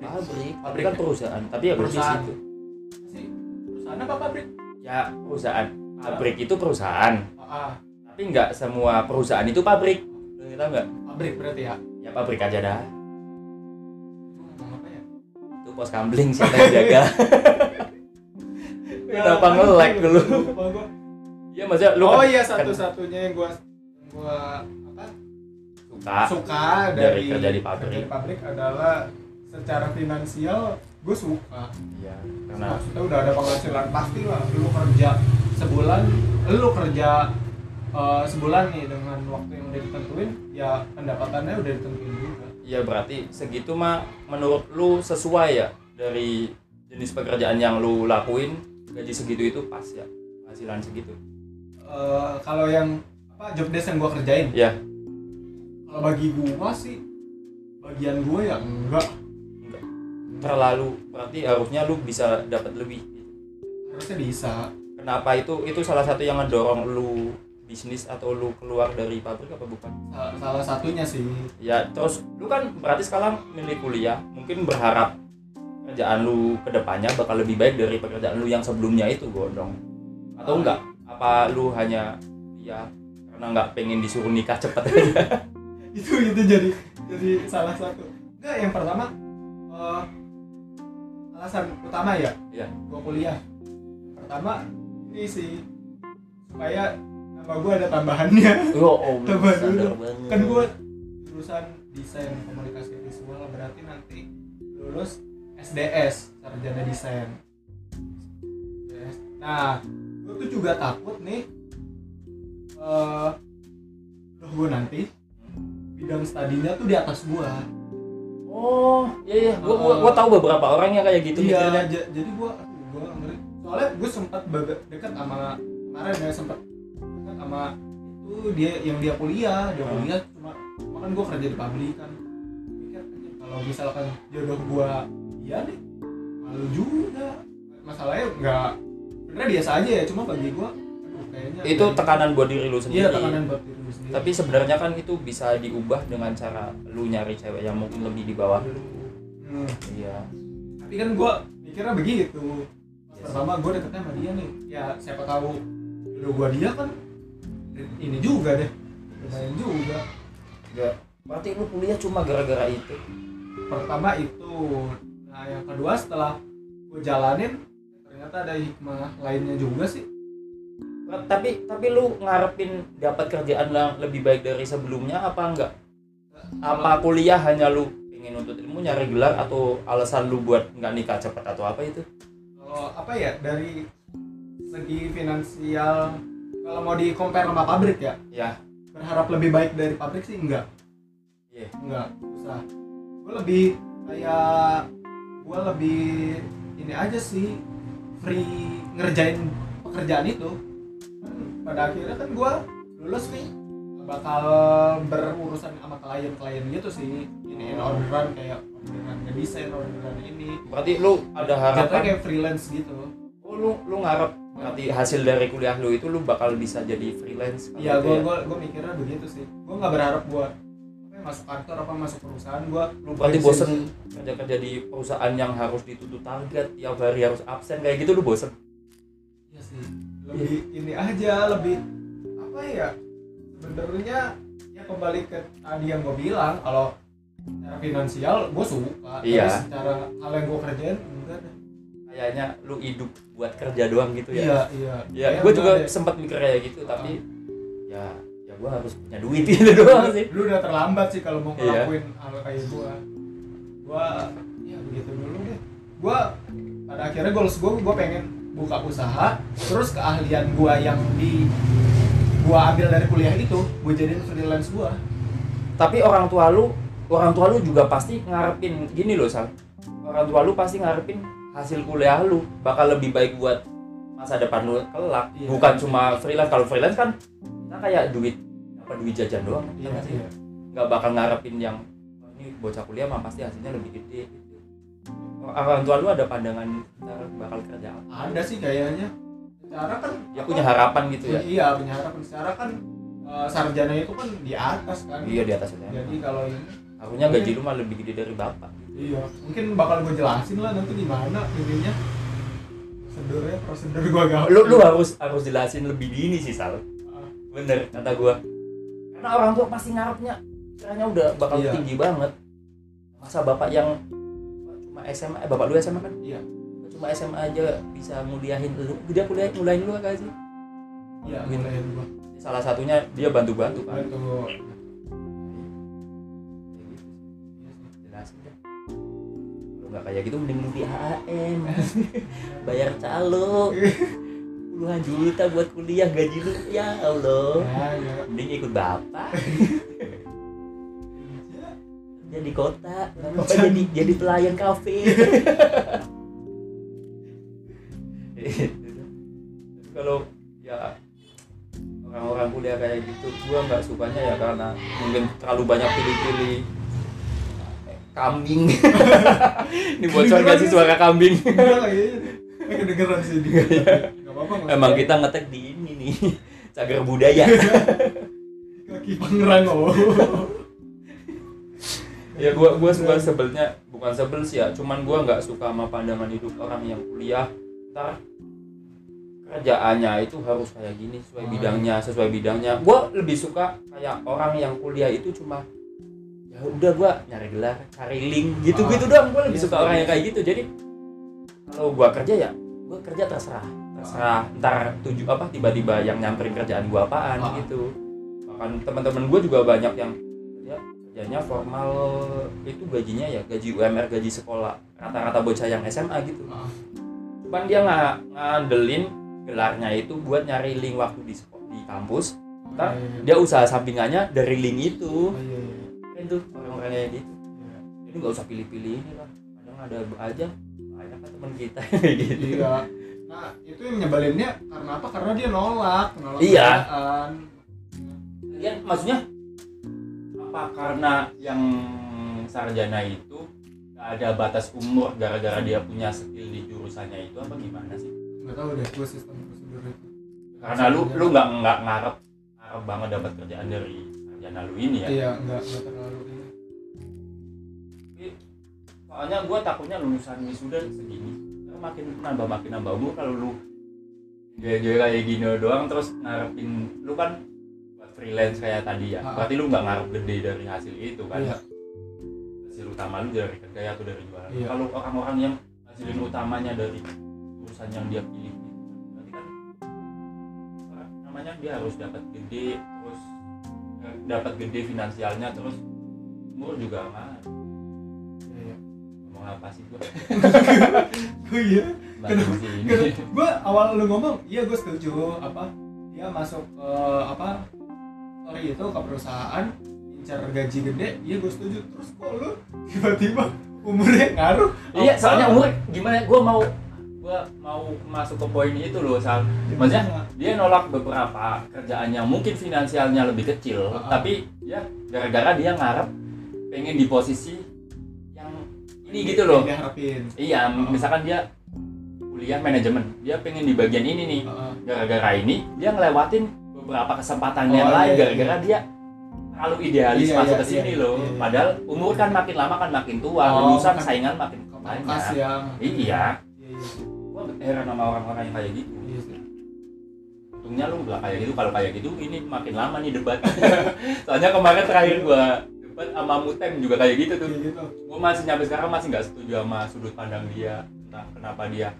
pabrik pabrik Pabrik kan ya? perusahaan tapi ya berarti Perusahaan. situ sih perusahaan apa pabrik ya perusahaan pabrik itu perusahaan ah tapi nggak semua perusahaan itu pabrik Lu tahu nggak pabrik berarti ya ya pabrik aja dah Gua ngomong apa ya itu pos gambling siapa yang jaga Kenapa Ya, nge-lag dulu? lupa gua. ya maksudnya lu oh kan iya satu-satunya yang gue gue apa suka suka dari dari, kerja di pabrik. kerja pabrik adalah secara finansial gue suka iya karena maksudnya udah ada penghasilan pasti lah lu kerja sebulan lu kerja eh, sebulan nih dengan waktu yang udah ditentuin ya pendapatannya udah ditentuin juga ya berarti segitu mah menurut lu sesuai ya dari jenis pekerjaan yang lu lakuin gaji segitu itu pas ya penghasilan segitu Eh, kalau yang apa job desk yang gue kerjain ya kalau bagi gua sih bagian gua ya enggak terlalu berarti harusnya lu bisa dapat lebih harusnya bisa kenapa itu itu salah satu yang ngedorong lu bisnis atau lu keluar dari pabrik apa bukan Sa- salah satunya sih ya terus lu kan berarti sekarang milih kuliah mungkin berharap kerjaan lu kedepannya bakal lebih baik dari pekerjaan lu yang sebelumnya itu gondong atau enggak apa lu hanya ya karena nggak pengen disuruh nikah cepet aja (laughs) itu itu jadi jadi salah satu enggak yang pertama eh, alasan utama ya Iya. gua kuliah pertama ini sih supaya nama gua ada tambahannya yo om Coba dulu. banget kan gua jurusan desain komunikasi visual berarti nanti lulus SDS sarjana desain SDS. nah gue tuh juga takut nih eh loh gue nanti bidang studinya tuh di atas gua oh iya iya gua gua, gua tahu beberapa orang yang kayak gitu mikirnya. iya j- jadi gua aduh, gua ngeri soalnya gue sempat baga- deket sama kemarin ya sempat deket sama itu dia yang dia kuliah dia Hmm. kuliah cuma cuma kan gue kerja di pabrik kan mikir anjir, kalau misalkan jodoh gua iya nih malu juga masalahnya nggak bener biasa aja ya cuma bagi gua aduh kayaknya itu tekanan buat diri lu sendiri iya tekanan buat diri lu sendiri tapi sebenarnya kan itu bisa diubah dengan cara lu nyari cewek yang mungkin lebih di bawah lu Hmm. iya tapi kan gue mikirnya begitu Pas Yes. pertama gue deketnya sama dia nih ya siapa tahu dulu gue dia kan ini juga deh lumayan juga Gak. Berarti lu kuliah cuma gara-gara itu. pertama itu nah yang kedua setelah gue jalanin ternyata ada hikmah lainnya juga sih Tapi tapi lu ngarepin dapat kerjaan yang lebih baik dari sebelumnya apa enggak? Apa kuliah hanya lu ingin nuntut ilmu nyari gelar atau alasan lu buat nggak nikah cepat atau apa itu? kalau apa ya dari segi finansial kalau mau di compare sama pabrik ya Ya. berharap lebih baik dari pabrik sih enggak Iya. enggak usah gue lebih kayak gue lebih ini aja sih free ngerjain pekerjaan itu Kan pada akhirnya kan gue lulus nih bakal berurusan sama klien-klien gitu sih ini Oh. orderan kayak orderan ngedesain orderan ini berarti lu ada jatuhnya harapan kayak freelance gitu oh, lu lu ngarep berarti hasil dari kuliah lu itu lu bakal bisa jadi freelance kalau Iya, gitu gue gue gue mikirnya begitu sih. Gue nggak berharap gue apa ya, masuk kantor apa masuk perusahaan gue. lu berarti bosen kerja-kerja di perusahaan yang harus dituntut target tiap hari harus absen kayak gitu lu bosen Iya sih. Lebih ini aja lebih apa ya? Sebenarnya ya kembali ke tadi yang gue bilang kalau secara finansial gue suka. Iya. Tapi secara hal yang gue kerjain enggak. deh. kayaknya lu hidup buat kerja doang gitu ya Iya iya. ya Kayak gue enggak juga deh. sempat mikir kayak gitu Ah. tapi ya ya gue harus punya duit (laughs) gitu doang sih Lu udah terlambat sih kalau mau Iya. ngelakuin hal kayak gue. Gue ya begitu dulu deh. Gue pada akhirnya goals gue gue pengen buka usaha terus keahlian gue yang di gue ambil dari kuliah itu gue jadiin freelance gue tapi orang tua lu orang tua lu juga pasti ngarepin gini loh sal orang tua lu pasti ngarepin hasil kuliah lu bakal lebih baik buat masa depan lu kelak Iya. bukan cuma freelance kalau freelance kan kita kayak duit apa duit jajan doang Iya, kita nggak sih? nggak bakal ngarepin yang "Wah, ini bocah kuliah mah pasti hasilnya lebih gede gitu. orang tua lu ada pandangan ntar bakal kerja apa? ada sih kayaknya secara kan ya punya harapan gitu ya iya punya harapan secara kan eh, sarjana itu kan di atas kan iya di atas itu jadi kalau ini harusnya gaji lu mah lebih gede dari bapak iya mungkin bakal gue jelasin lah nanti gimana ininya prosedurnya prosedur gue gak lu lu harus harus jelasin lebih dini sih sal bener kata gua karena orang tua pasti ngarepnya kiranya udah bakal Iya. tinggi banget masa bapak yang cuma SMA eh, bapak lu SMA kan Iya. cuma SMA aja bisa nguliahin lu dia kuliah nguliahin lu gak sih iya Gitu. mulai gue salah satunya dia bantu bantu kan bantu jelasin deh kalau nggak kayak gitu mending lu di HAM bayar calo puluhan juta buat kuliah gaji lu ya Allah Nah, ya. mending ikut bapak kerja di kota bapak Kerja. jadi jadi pelayan kafe Tapi kalau ya orang-orang kuliah kayak gitu gua nggak sukanya ya karena mungkin terlalu banyak pilih-pilih kambing (laughs) ini bocor gak sih suara kambing Enggak kayaknya Iya, Eh, kedengeran (laughs) sih dia Gak apa-apa Mas. emang gitu. kita ngetek di ini nih cagar budaya kaki pangerang oh ya gua gua suka sebelnya bukan sebel sih ya cuman gua nggak suka sama pandangan hidup orang yang kuliah ntar kerjaannya itu harus kayak gini sesuai Hmm. bidangnya sesuai bidangnya gua lebih suka kayak orang yang kuliah itu cuma ya udah gua nyari gelar cari link gitu gitu doang gua lebih Iya, suka iya. orang yang kayak gitu jadi kalau gua kerja ya gua kerja terserah terserah ntar tuju apa tiba-tiba yang nyamperin kerjaan gua apaan Ah. gitu bahkan teman-teman gua juga banyak yang kerja kerjanya formal itu gajinya ya gaji UMR gaji sekolah rata-rata bocah yang SMA gitu Ah. cuman dia nggak ngandelin gelarnya itu buat nyari link waktu di seko- di kampus Ntar dia usaha sampingannya dari link itu Oh, iya, iya. Keren tuh orang-orang kayak gitu jadi nggak usah pilih-pilih ini lah kadang ada aja banyak kan teman kita (laughs) kayak gitu iya nah itu yang nyebelinnya karena apa karena dia nolak nolak Iya. kerjaan. Kalian Iya, maksudnya apa karena yang sarjana itu nggak ada batas umur gara-gara dia punya skill di jurusannya itu apa gimana sih? nggak tahu deh gue sistem prosedur itu Karena lu lu nggak nggak ngarep ngarep banget dapat kerjaan dari sarjana lu ini ya. iya nggak nggak terlalu ini Soalnya gua takutnya lulusan wisuda segini Ntar makin nambah makin nambah umur kalau lu gaya-gaya kayak gini doang terus ngarepin lu kan buat freelance kayak tadi ya. Ah. Berarti lu nggak ngarep gede dari hasil itu kan? iya hasil utama lu dari kerja atau dari jualan Iya. kalau orang-orang yang hasilin utamanya dari urusan yang dia pilih berarti kan apa namanya dia harus dapat gede terus eh, dapat gede finansialnya terus umur juga mah iya ngomong apa sih (laughs) gua oh iya balik sini gue awal lu ngomong iya gue setuju apa dia masuk ke apa ke sektor itu ke perusahaan incar gaji gede iya gue setuju terus kok lu tiba-tiba umurnya ngaruh iya soalnya umur gimana gue mau gue mau masuk ke poin itu loh soal maksudnya dia nolak beberapa kerjaannya mungkin finansialnya lebih kecil Ah. tapi ya gara-gara dia ngarep pengen di posisi yang ini gitu loh dia harapin iya Ah. misalkan dia kuliah manajemen dia pengen di bagian ini nih Heeh. gara-gara ini dia ngelewatin beberapa kesempatan yang Oh, lain iya, gara-gara dia terlalu idealis Iya, masuk iya, ke sini iya, loh iya, iya. padahal umur kan makin lama kan makin tua Oh, lulusan kan- saingan makin kepangkas banyak yang iya Iya, iya, gua heran sama orang-orang yang kayak gitu iya, iya. untungnya lu nggak kayak gitu kalau kayak gitu ini makin lama nih debat (laughs) soalnya kemarin terakhir gua debat sama Mutem juga kayak gitu tuh Iya, gitu gua masih nyampe sekarang masih nggak setuju sama sudut pandang dia tentang kenapa dia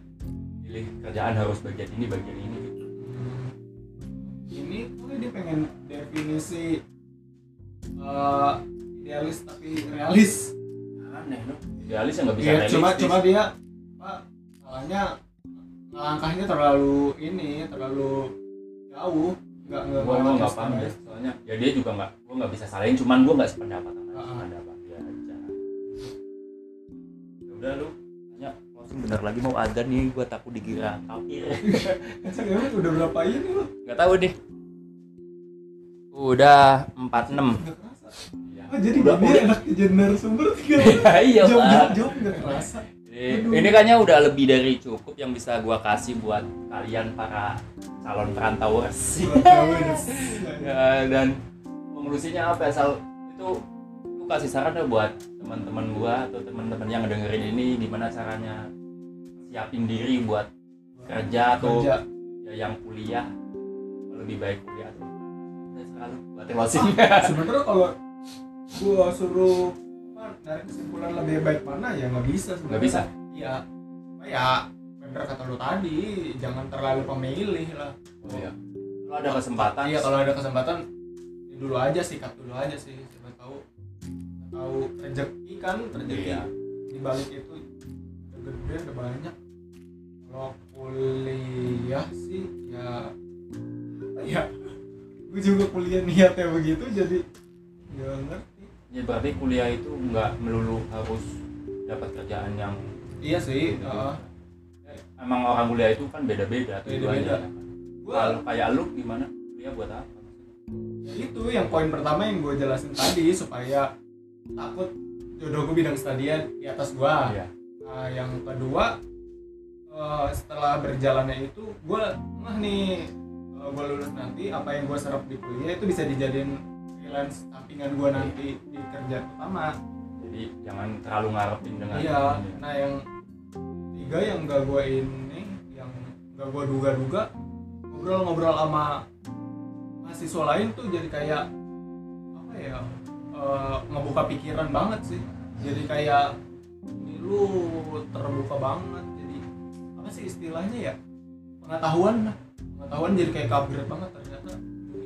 pilih kerjaan harus bagian ini bagian ini ini kali dia pengen definisi eh, idealis tapi realis aneh loh idealis yang nggak bisa Iya, cuma realistis. cuma dia pak salahnya langkahnya terlalu ini terlalu jauh nggak nggak gua gua nggak nggak paham ya soalnya ya dia juga nggak gua nggak bisa salahin cuman gua nggak sependapat sama dia Ah. pendapat dia aja ya udah lu tanya closing bentar lagi mau adzan nih gua takut dikira kafir Anjing, emang udah berapa ini lu nggak tahu deh udah 46 nggak kerasa Iya. oh, jadi Udah, (laughs) gak dia enak jadi narasumber tiga menit. iya jauh Pak. jauh jauh nggak (laughs) kerasa Jadi, Aduh. ini ini kayaknya udah lebih dari cukup yang bisa gua kasih kasih buat kalian para calon perantauers Gua tahu ya. ya, dan konklusinya apa ya, Sal? itu lu kasih saran deh buat teman-teman gua atau teman-teman yang dengerin ini gimana caranya siapin diri buat kerja atau Kerja. ya, yang kuliah lebih baik kuliah tuh dan selalu buat closing (laughs) sebenarnya kalau gua suruh apa, narik kesimpulan lebih baik mana ya nggak bisa nggak sebenarnya bisa iya Apa ya bener kata lu tadi jangan terlalu pemilih lah oh, iya. lu ada kesempatan iya kalau ada kesempatan ya dulu aja sikat dulu aja sih siapa tahu siapa tahu rezeki kan rezeki Iya. di balik itu ada gede ada banyak kalau kuliah sih ya apa ya gue juga kuliah niatnya begitu jadi nggak ngerti ya, berarti kuliah itu nggak melulu harus dapat kerjaan yang iya sih heeh. emang orang kuliah itu kan beda-beda Beda-beda. tujuannya Gua- kalau kayak lu gimana kuliah buat apa itu yang poin pertama yang gue jelasin tadi supaya takut jodoh gue bidang stadion di atas gua Iya. nah, yang kedua eh, setelah berjalannya itu gue mah nih gue lulus nanti apa yang gue serap di kuliah itu bisa dijadiin freelance sampingan gue nanti di kerjaan utama jadi jangan terlalu ngarepin dengan iya ini. nah yang tiga yang gak gue ini yang gak gue duga-duga ngobrol-ngobrol sama mahasiswa lain tuh jadi kayak apa ya eh, ngebuka pikiran banget sih jadi kayak ini lu terbuka banget jadi apa sih istilahnya ya pengetahuan lah pengetahuan jadi kayak upgrade banget ternyata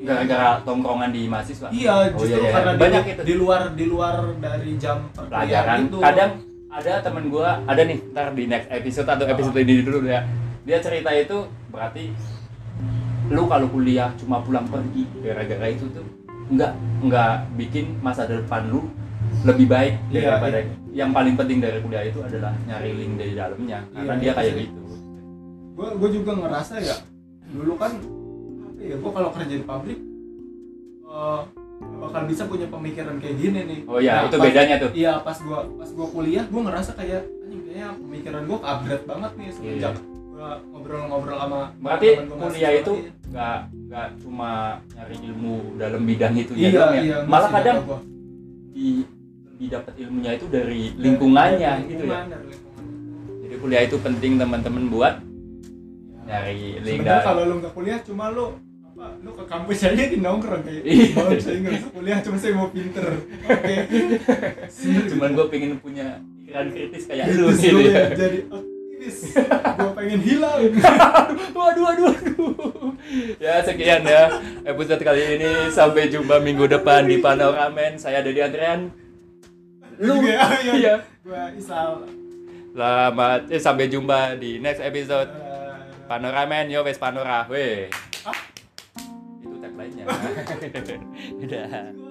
gara-gara tongkrongan di mahasiswa iya Oh, justru iya, iya. karena di- Banyak itu. di luar di luar dari jam perkuliahan pelajaran itu kadang ada temen gua ada nih ntar di next episode atau episode ini dulu ya dia cerita itu berarti lu kalau kuliah cuma pulang pergi gara-gara itu tuh nggak nggak bikin masa depan lu lebih baik Iya, daripada yang paling penting dari kuliah itu adalah nyari link dari dalamnya karena Iya, dia iya, kayak sih. gitu gue gue juga ngerasa ya dulu kan apa ya gue kalau kerja di pabrik eh, nggak bakal bisa punya pemikiran kayak gini nih oh ya Nah, itu pas- bedanya tuh iya pas gue pas gue kuliah gue ngerasa kayak anjing kayaknya pemikiran gue upgrade banget nih semenjak gue ngobrol-ngobrol sama Iya. berarti teman gua kuliah mahasiswa itu lagi. nggak nggak cuma nyari ilmu dalam bidang itu iya, ya iya, dong ya malah masih kadang kata gua. di lebih dapat ilmunya itu dari lingkungannya Iya, Dari gitu ya lingkungan, dari lingkungan. jadi kuliah itu penting teman-teman buat Ya. nyari link dan sebenarnya kalau lu nggak kuliah cuma lu apa lu ke kampus aja di nongkrong kayak Iya. "Mohon, saya nggak usah kuliah cuma saya mau pinter oke (laughs) cuman gue pengen punya pikiran kritis kayak Kritis lu gua gitu ya pengen jadi aktivis gue pengen hilang waduh waduh waduh ya sekian ya episode kali ini sampai jumpa minggu depan di Panoramen saya Dedi Adrian Lu- Juga ya, ya. iya gue isal selamat eh, sampai jumpa di next episode Eh, Panoramen yo wes panora weh itu tagline (laughs) podcastnya. Udah.